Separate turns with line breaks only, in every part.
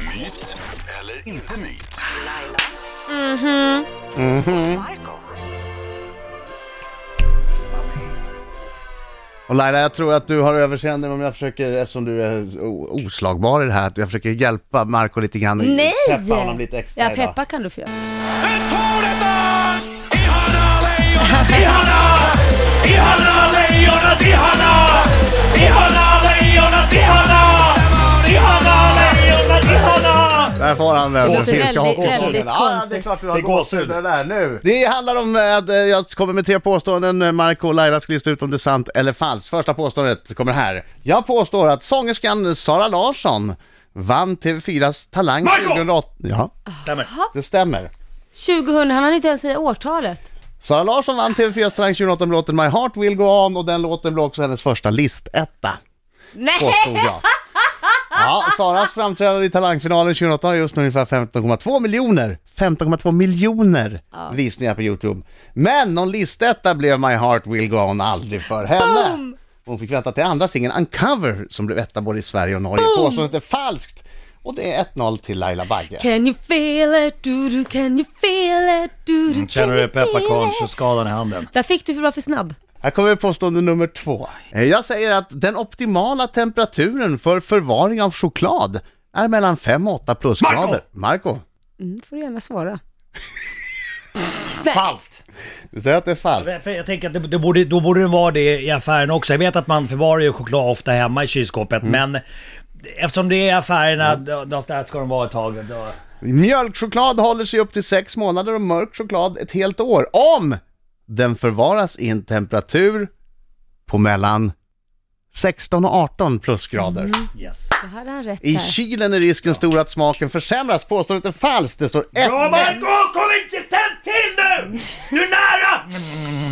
Myt eller inte myt?
Laila. Mhm. Marco.
Och Laila, jag tror att du har överseende om jag försöker, eftersom du är o- oslagbar i det här, att jag försöker hjälpa Marco lite grann. och
Nej!
Peppa honom lite extra
Ja,
idag.
peppa kan du få göra.
Där får han den.
Låter väldigt, väldigt
Ja, det är
konstigt.
klart du har
Det är gåshud.
gåshud. Det där nu. Det handlar om eh, att eh, jag kommer med tre påståenden. Eh, Marco och Laila ska lista ut om det är sant eller falskt. Första påståendet kommer här. Jag påstår att sångerskan Sara Larsson vann TV4s Talang
Marco!
2008. Ja,
Stämmer.
det stämmer.
2000, han hann inte ens säga årtalet.
Sara Larsson vann TV4s Talang 2008 med låten My Heart Will Go On och den låten blev också hennes första listetta.
Nej!
påstod jag. Ja, Saras framträdande i Talangfinalen 2008 har just nu ungefär 15,2 miljoner 15,2 miljoner visningar på Youtube. Men någon listetta blev My Heart Will Go On aldrig för henne.
Boom!
Hon fick vänta till andra singeln Uncover som blev etta både i Sverige och Norge. Påståendet är falskt. Och det är 1-0 till Laila Bagge.
Can you feel it, do do, can you feel it,
Mm,
do do,
Känner
can
du
you feel it?
pepparkornsskadan i handen?
Där fick du för att vara för snabb.
Här kommer påstående nummer två. Eh, Jag säger att den optimala temperaturen för förvaring av choklad är mellan 5 och 8 plusgrader. Marco!
Mm, får du gärna svara.
Falskt!
Du säger att det är falskt.
För Jag tänker att det, det borde, då borde det vara det i affären också. Jag vet att man förvarar ju choklad ofta hemma i kylskåpet men eftersom det är i affärerna, då, då där ska de vara ett tag. Då.
Mjölkchoklad håller sig upp till sex månader och mörk choklad ett helt år om den förvaras i en temperatur på mellan 16 och 18 plusgrader.
Mm, Yes.
Det hade han rätt
I
där.
kylen är risken stor att smaken försämras. Påståendet är falskt. Det står ett...
Bra Marco, kom inte tänd till nu! Du är nära!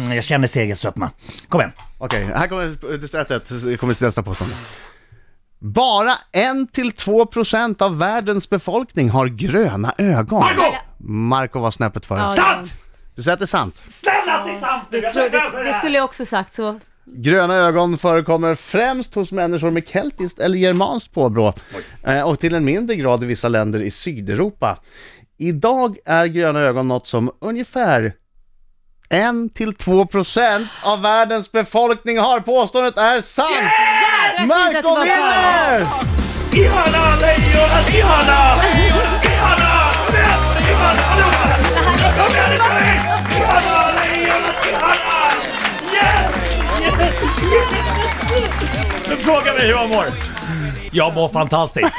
Mm, jag känner segersötma. Kom igen.
Okej, här kommer det står ett, ett, så kommer nästa påstående. Bara 1-2% av världens befolkning har gröna ögon.
Marco!
Marco var snäppet före.
Ja,
Sant!
Du säger att det är sant?
Snälla att det är sant nu!
Det,
Jag
tror,
behöver
det, det skulle jag också sagt så.
Gröna ögon förekommer främst hos människor med keltiskt eller germanskt påbrå eh, och till en mindre grad i vissa länder i Sydeuropa. Idag är gröna ögon något som ungefär 1-2% av världens befolkning har. Påståendet är sant!
Jag trodde att det
Marco
var falskt.
vinner!
Ihana lejonet, ihana! Ihana! Ihana! Kom igen nu, kom igen! Ihana lejonet, ihana! Yes! Yes! yes! Du frågar mig hur jag mår. Jag mår fantastiskt.